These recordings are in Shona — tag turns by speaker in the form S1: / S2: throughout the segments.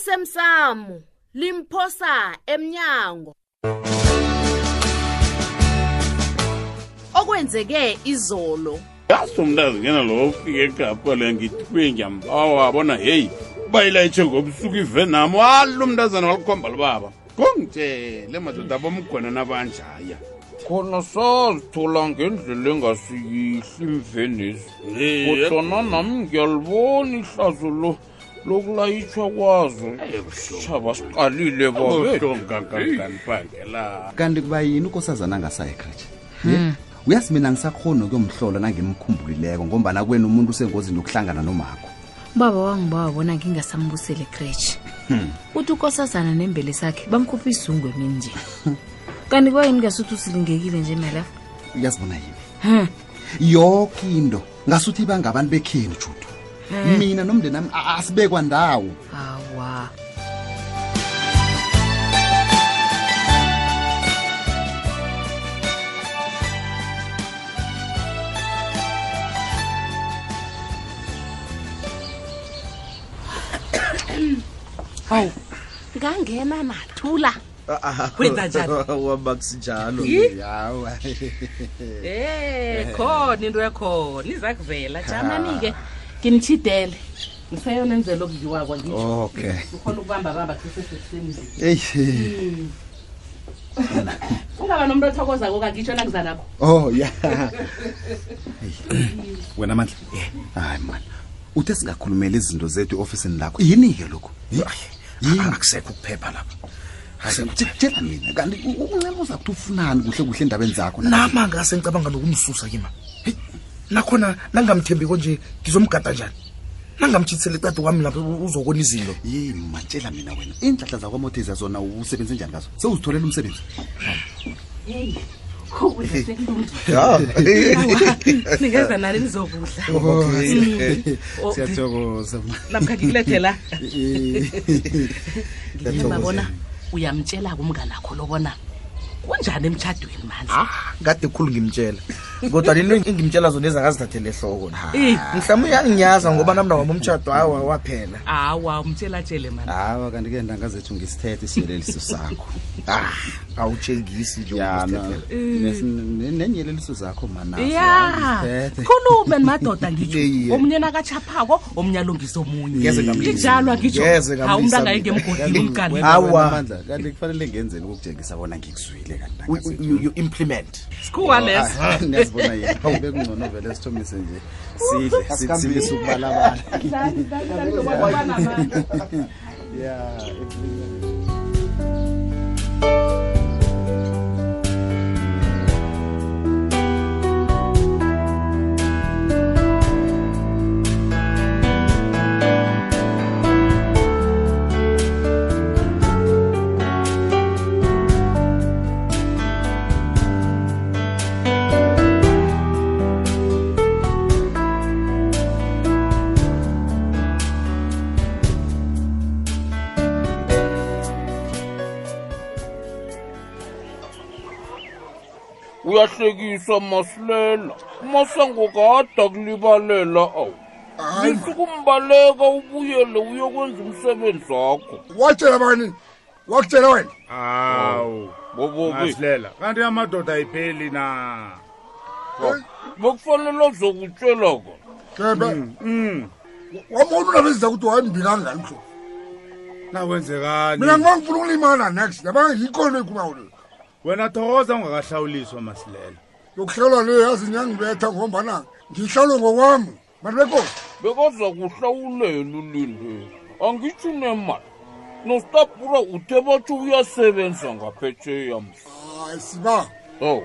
S1: lasemsamo limphosa emnyango okwenzeke izolo
S2: yazi umntazingena lo ufike ekapa le ngithiwe ngiyambawa bona heyi bayilayitshe ngobusuku ive nami walo umntazana walikhomba lubaba kongitshele madoda abomgwena nabanjaya
S3: khona sazithola ngendlela engasiyihli imvenezi
S2: Eh,
S3: kodwana nami ngiyalibona ihlazo lo lokulayitshwa kwazo
S2: Eh, buhlungu.
S3: shaba siqalile babethu
S2: ubuhlungu kanganganibangela
S4: kanti kuba yini ukosazana angasayi ekreje uyazi mina ngisakhona ukuyomhlola nangimkhumbulileko ngombana kwena umuntu usengozini yokuhlangana nomakho
S5: ubaba wangu bawabona ngingasambusele ekretshi uthi ukosazana nembele sakhe bamkhupha izungu emini nje kanti kwayini ngasuthi usilingekile nje mylafa
S4: uyazibona yini yoke into ngasuthi bangabantu bekhenu judu mina nomndeni nami asibekwa ndawo
S5: hawa
S1: ngangena nathula
S6: wenza njalo
S4: wabakusinjalo yawa
S6: e khona into yakhona iza kuvela jamani-ke nginitshidele ngiseyona enzela okudliwako ngisho
S4: okay
S6: ukhona ukubambabamba kusesesemzini
S4: eyi
S6: ungaba nomntu othokozako kakitsho nakuza nakho
S4: oh ya Eyi, wena mandla hayi man uthe singakhulumela izinto zethu eofisini lakho yini-ke lokhu
S7: akusekho ukuphepha lapha
S4: tshela mina kanti u- u- uncema uza kuthi ufunani kuhle kuhle endabeni zakho na
S7: nama angase ngicabanga nokumsusa kima heyi nakhona nangamthembiko nje ngizomgada njani nangamtshithisela icade kwami lapho u- uzokona izinto
S4: ye matshela mina wena iinhlahla zakwamoteza zona usebenze njani ngazo sewuzitholela umsebenzi
S6: ningeza nani nizokudla Oh.
S4: siyathokoza ma.
S6: namkha ngikulethe la
S4: Ngiyathokoza.
S6: ngithemba bona uyamtshela-ke umnganakho lobona kunjani emtshadweni mandla
S7: Ah, kade khulu ngimtshela kodwa lento engimtshela zona ezakazithathele ehloko
S6: Eh.
S7: mhlawumbe uyanginyaza ngoba namna wami umtshato awa waphela
S6: awa umtshelatshele mani
S4: hawa kanti-ke ndanga zethu ngisithethe isiyeleliso sakho
S7: Ah, awutshengisi nje
S4: ya
S7: ukusithethe.
S4: Ah, no, nes- ne- nenyeleliso zakho manazo
S6: Mm. ya
S4: angiziphethe.
S6: khulume nimadoda
S7: Iye, iye.
S6: ngitsho omunye nakachaphako omunye alungisa omunye
S7: Ngeze ngamlisa.
S6: injalo angitsho
S7: Ngeze ngamlisa
S6: hawu umntu
S7: mina.
S6: angayeke emgodini umkani
S4: Wena, wena,
S7: Awa.
S4: Mandla, kanti kufanele ngenzeni ukukutshengisa bona ngikuzwile kanti
S7: You-
S4: nangazethu.
S7: you you implement
S6: sikhuwa leso
S4: Ah, niyazibona yena hawu bekungcono vele sithomise nje sidle si- silise ukubalabala
S3: uyahlekisa masilela umasango kada kulibalela awu nisukumbaleka ubuyele uyokwenza umsebenzi wakho
S8: watshela bani wakutshela wena
S2: hawu
S3: bobobe
S2: masilela kanti amadoda ayipheli na
S3: bekufanele azokutshela kona
S8: kebe wabona unabezisa ukuthi wayembinanga mhlo mina
S2: nakwenzekani
S8: ngiba ngifuna ukulimana next yabanga yikho nto ikhumako leyo
S2: wena thokoza ungakahlawuliswa masilela
S8: yokuhlelwa leyo yazi niyangibetha ngombana ngihlawulwe ngokwami bantu bekosi
S3: bekaza kuhlawulela ulinde angitsho nemali nostapura uthe batsho uyasebenza ngaphetsheya msa
S8: hayi siba
S3: awu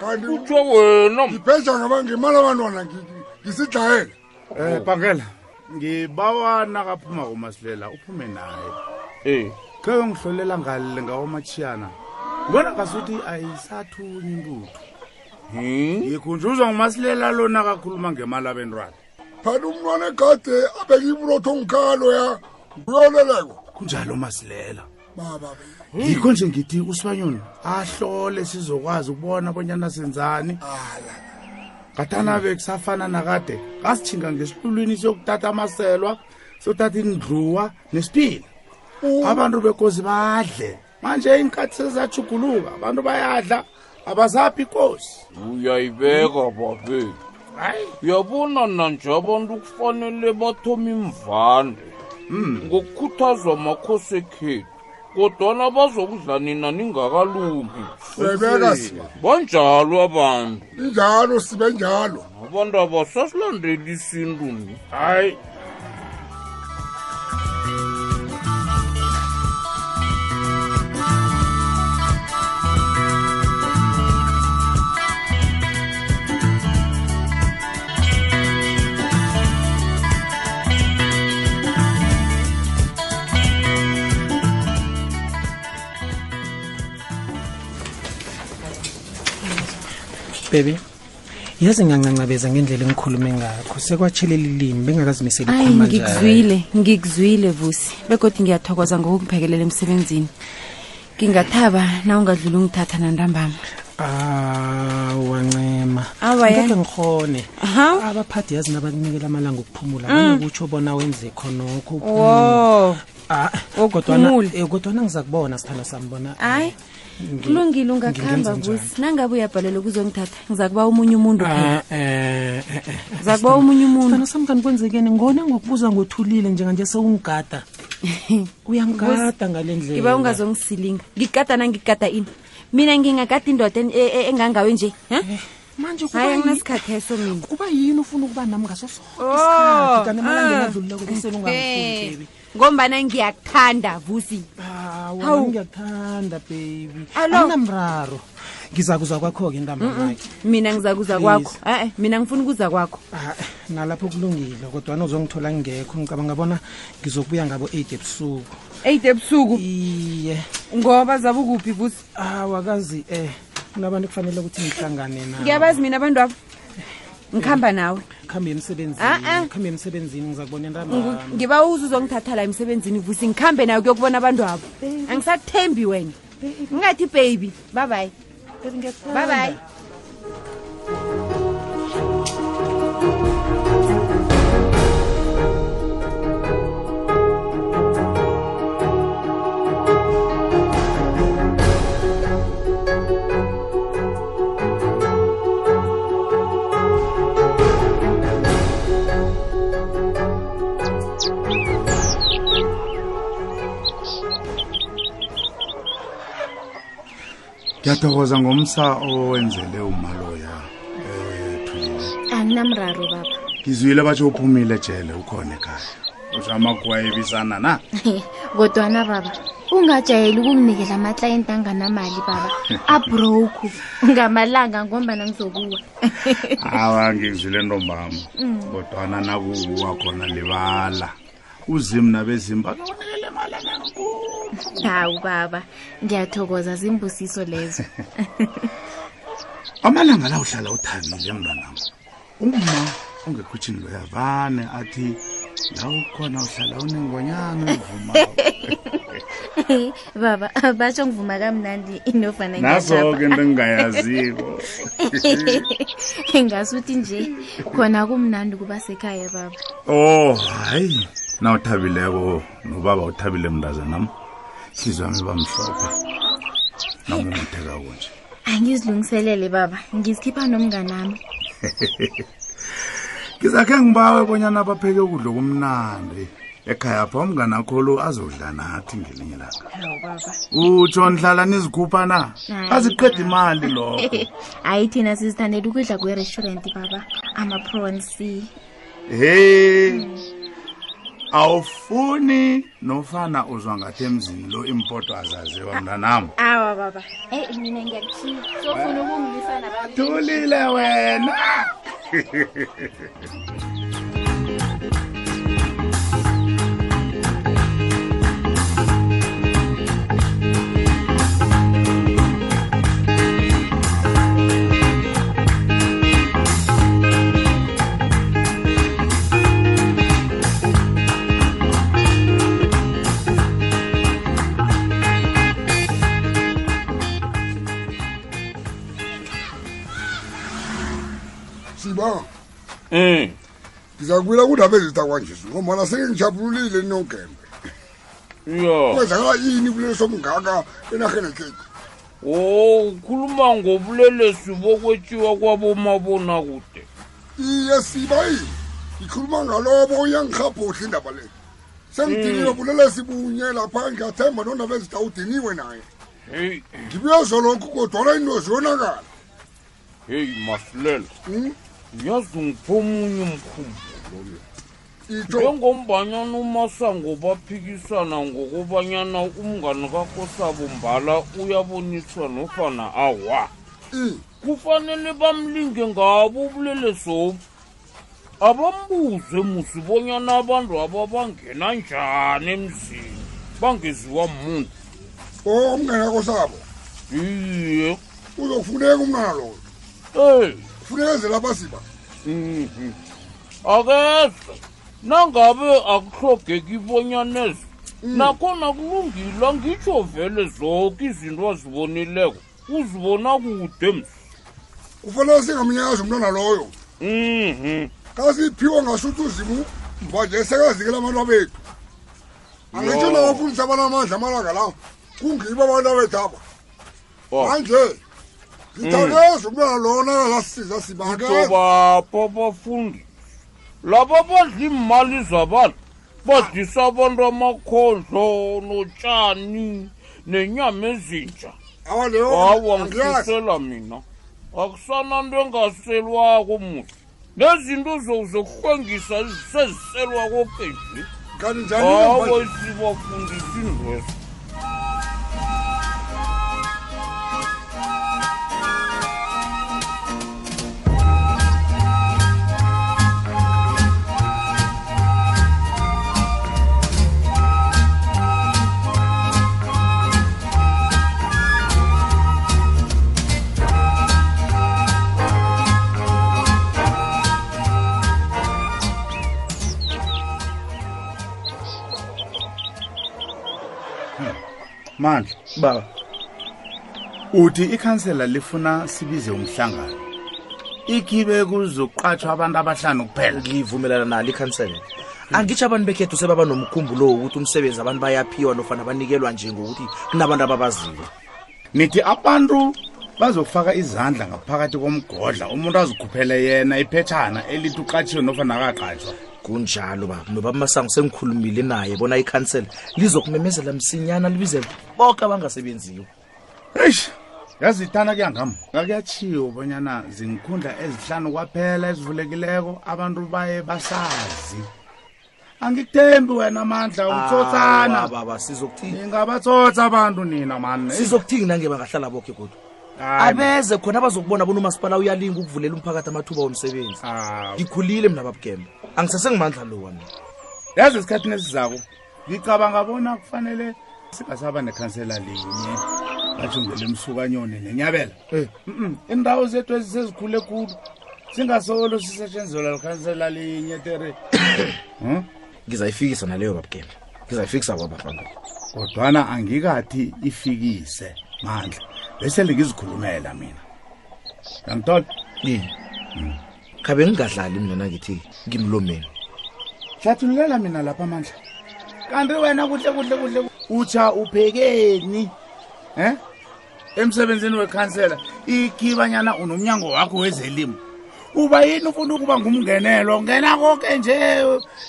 S8: kanti
S3: utsho wena m-
S8: ngipheja ngaba ngemali abantwana ngi- ngi- ngisidlayele
S2: um bhangela ngibawa nakaphuma komasilela uphume naye
S3: eh
S2: kheke ngihlolela ngale ngawomatshiyana ngibona ngasuthi ayisathunya intuthu
S3: hmm?
S2: ngikhunjuzwa ngumasilela lona kakhuluma ngemali abentwana
S8: phani umntwana egade abeke iburotho ngikhalo ya uyoleleko
S2: kunjalo masilela
S8: baba be.
S2: yikho nje ngithi usibanyoni ahlole sizokwazi ukubona bonyana senzani ngathanabe kusafana nakade ngasithinga ngesilulwini siyokuthatha amaselwa siyothatha indluwa nesiphila
S9: abantu bekozi badle manje iinkathi sezajuguluka abantu bayadla abazaphi ikosi
S3: uyayibeka babe uyabona nanje abantu kufanele bathome imvande ngokukhuthazwa makhosi ekhethu kodwana bazokudla nina ningakalungi
S8: sebeka siba
S3: banjalo abantu
S8: injalo sibe njalo
S3: abantu abasasilandeli isintu ni hayi
S10: bebe yazi ngancancabeza ngendlela engikhulume ngakho sekwatshelela ilimi bengakazimiseli
S11: hayi
S10: ukukhuluma nje.
S11: ngikuzwile ngikuzwile vusi bekodwa ngiyathokoza ngokungiphekelela emsebenzini ngingathaba na ungadlula ungithatha nantambama
S10: awancema
S11: Awa, ya.
S10: ngeke ngikhone
S11: Aha. Mm.
S10: abaphathi yazi nabakunikela amalanga okuphumula banokutsho bona wenze khonokho
S11: wo
S10: Ah, kodwana
S11: Wokuphumula.
S10: eh, kodwana ngiza kubona sithanda sambona
S11: hayi kulungile ungakuhamba vusi nangabe uyabhalelwa kuzongithatha ngiza kuba omunye umuntu
S10: Ah,
S11: phela
S10: eh,
S11: ngiza kuba omunye umuntu
S10: sithanda sami kanti kwenzekeni ngona ngokubuza ngothulile njenganje sewungigada uyangigada ngale ndlela
S11: ngiba ungazongisilinga ngigada nangigada ini mina ngingagada indoda en- e- e- engangawe nje
S10: Eh,
S11: ha?
S10: manje kuba
S11: hayi
S10: yini-
S11: anginasikhatheso mina
S10: kuba yini ufuna ukuba nami ngaso sonke
S11: Oh,
S10: isikhathi kanti
S11: ah.
S10: emalangeni adlulileko besele
S11: Eh,
S10: ungangifuni
S11: ngombana ngiyakuthanda vusi Hawu.
S10: baby ngiyakuthanda baby
S11: Alo.
S10: anamraro ngiza kuza kwakho-ke ntambanakhe
S11: mina ngizakuza
S10: Please.
S11: kwakho e-e mina ngifuna ukuza kwakho
S10: Ah, nalapho kulungile kodwana uzongithola ngekho ngicabanga bona ngizokubuya ngabo 8 ebusuku
S11: eight ebusuku
S10: iye
S11: ngoba zabe ukuphi vusi
S10: awakazi eh kunabantu kufanele ukuthi ngihlangane nabo
S11: ngiyabazi mina abantu abo ngihamba nawe
S10: khambe emsebenzini
S11: Ah, ah.
S10: khambe emsebenzini ngiza kubona
S11: Ngiku-
S10: entambama
S11: ngiba uze uzongithatha la emsebenzini vusi ngikhambe nawe kuyokubona abantu abo angisathembi wena ngingathi baby babayi babayi
S2: ngiyathokoza ngomsa owenzele umaloya ethulile
S12: anginamraro baba
S2: ngizwile batsho uphumile jele ukhona ekhaya usho amakhuwa ebisana na
S12: kodwana baba ungajayeli ukunginikela amaklayenti anganamali baba abroku ngamalanga ngombana ngizokuwa
S2: awa ngizwile ntombami
S12: Mm.
S2: kodwana nakuwa khona libala uzimu nabezimba
S12: hawu baba ngiyathokoza zimbusiso lezo
S2: amalanga la uhlala uthabile mntwanami umma ongekhutshini loyavane athi la ukhona uhlala unengonyana uvuma
S12: baba batsho ngivuma kamnandi inofana
S2: naso-ke into engingayaziko
S12: ngasuthi nje khona kumnandi kuba sekhaya baba
S2: oh hayi na uthabileko nobaba uthabile mntazanam hlizwami bamhlopha namumatheka kunje
S12: angizilungiselele baba ngizikhipha nomnganami
S2: ngizakhe ngibawe bonyana bapheke ukudla kumnandi ekhaya pha umnganakholo azodla nathi ngelinye langa utsho nihlala nizikhupha na
S12: Hayi,
S2: aziqeda imali lokho
S12: hayi thina sizithandela ukudla kwe-restaurant baba ama-pronsi
S2: he awufuni nofana uzwa ngathi emzini lo impoto azaziwa mntanam
S12: awa baba eyi mina ngiyakuthiya sofuna ukungilisa
S2: tulile wena
S8: siba
S3: um
S8: ngizakubuyela kundaba ezitha kwanje ngombana sengingijabululile nongembe
S3: ya
S8: kwenzakala yini kuleli somngaka enarheni ekhethu
S3: o ukhuluma ngobulelesi bokwetyiwa kwabomabonakude
S8: iye sibayi ngikhuluma ngalobo uyangirhabhodla indaba le sengidiniwe bulelesi bunye lapha ngiyathemba nondaba ezida udiniwe naye
S3: heyi
S8: ngibuye zolonke kodwana into ziyonakala Hmm?
S3: heyi masilela uyazi ngipho omunye umkhumbulo njengombanyana umasango baphikisana ngokobanyana umngani kakosabo mbala uyaboniswa nofana awa kufanele bamlinge ngabo ubulelesobu abambuze musi bonyana abantu aba bangena njani emzini bangeziwa muntu
S8: o umngani kakosabo
S3: iye
S8: uzokufuneka umnana loyo
S3: Hey,
S8: kufunezela abasiba
S3: mhm. akeze nangabe akuhlogeki ibonyanezi nakhona kulungile angitsho vele zoke izinto azibonileko uzibona kude ms
S8: kufanele singamnyazi umntwana loyo
S3: mhm
S8: kasiphiwe ngasuthi uzimu mvanje sekazikela abantu abethu angitsho
S3: Yo.
S8: nabafundisa abanamandla amalanga lawo kungibo abantu abethu aba manje ngithaleza umntwana lona azasiza sibakeza
S3: tobapha abafundi laba badla iimali zabantu badisa abantu amakhondlo notshani nenyama ezintsha
S8: leyo
S3: hawa
S8: angiyazi.
S3: ngisusela mina akusananto engaselwako muhle nezinto zo- zokuhlwengisa seziselwako penje
S8: kanti njani
S3: hawa
S8: ngemva-
S3: sibafundisa indweso
S2: mandla baba uthi ikhansela lifuna sibize umhlangano ikhibe kuzoqatshwa abantu abahlanu kuphela
S7: ngivumelana nalo ikhansela angitsho abantu bekhethu sebaba nomkhumbulo wokuthi umsebenzi abantu bayaphiwa nofana banikelwa nje ngokuthi kunabantu ababaziwe
S2: nithi abantu bazofaka izandla ngaphakathi komgodla umuntu azikhuphele yena iphetshana elithi uqatshiwe nofana akaqatshwa
S7: kunjalo baba nobaba masango sengikhulumile naye bona ikhansela lizokumemezela msinyana libize boke abangasebenziyo
S2: eish yazithana kuyangam ngakuyatshiwo bonyana zinkhundla ezihlanu kwaphela ezivulekileko abantu baye basazi angikuthembi wena mandla
S7: Ah,
S2: umtsotsana
S7: baba sizokuthini
S2: ningabatsotsa abantu nina mani
S7: sizokuthini nange bangahlala boke kodwa abeze khona bazokubona bona umasipala uyalinga ukuvulela umphakathi amathuba womsebenzi ngikhulile mina babukembe angisasengimandla lo wami
S2: yazi esikhathini esizako ngicabanga bona kufanele singasaba nekhansela linye batsho ngelemsukanyoni nenyabela
S7: Eh.
S2: Mm-mm, iindawo zethu ezisezikhule khulu singasolo sisetshenzelwa likhansela linye tere Hmm?
S7: ngizayifikisa naleyo babukembe ngizayifikisa kwabaphambili
S2: kodwana angikathi ifikise mandla bese lingizikhulumela mina yangithola
S7: yini khabe ngingadlali mina nangithi ngimlomeni
S2: hlathululela mina lapha amandla kanti wena kuhle kuhle kuhle utsha uphekeni em emsebenzini wekhansela ikhibanyana unomnyango wakho wezelimo uba yini ufuna ukuba ngumngenelo ngena konke nje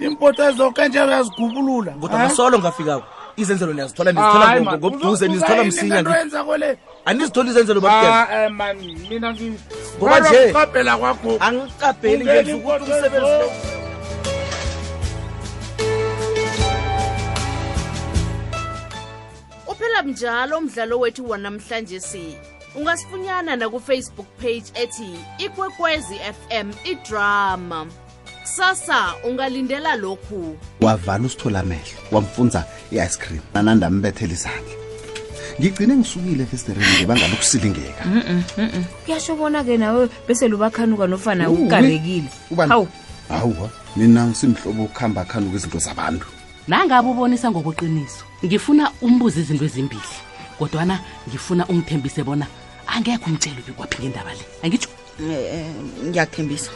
S2: impoto ezoke nje uyazigubulula
S7: kodwa nasolo ngafikako izenzelo niyazithola nizithola ngo- ngobuduze nizithola msinya ngithi.
S2: kole
S7: anizitholi izenzelo babukembe
S2: Ah, eh, man, mina ngi-
S7: Ngoba nje-
S2: Ukuqaphela kwakho
S7: angiqabheli
S2: Ungena
S7: ngenza ukuthi
S2: iimpoto
S7: umsebenzi
S2: ezoke.
S1: uphela njalo umdlalo wethu wanamhlanje si ungasifunyana nakufacebook page ethi ikwekwezi fm idrama kusasa ungalindela lokhu
S4: wavala usithola amehlo wamfunza i-ice cream nanandambethela izandla ngigcine ngisukile efestereni ngebanga lokusilingeka
S5: kuyasho bona-ke nawe bese lubakhanuka nofana ugarekile
S4: Ubani?
S5: hawu
S4: hawa nina simhlobo ukuhamba khanuka izinto zabantu
S6: nangabe ubonisa ngokuqiniso ngifuna umbuze izinto ezimbili kodwana ngifuna ungithembise bona angekho umtshelo ubi kwaphi ngendaba le angitsho
S13: ngiyakuthembisa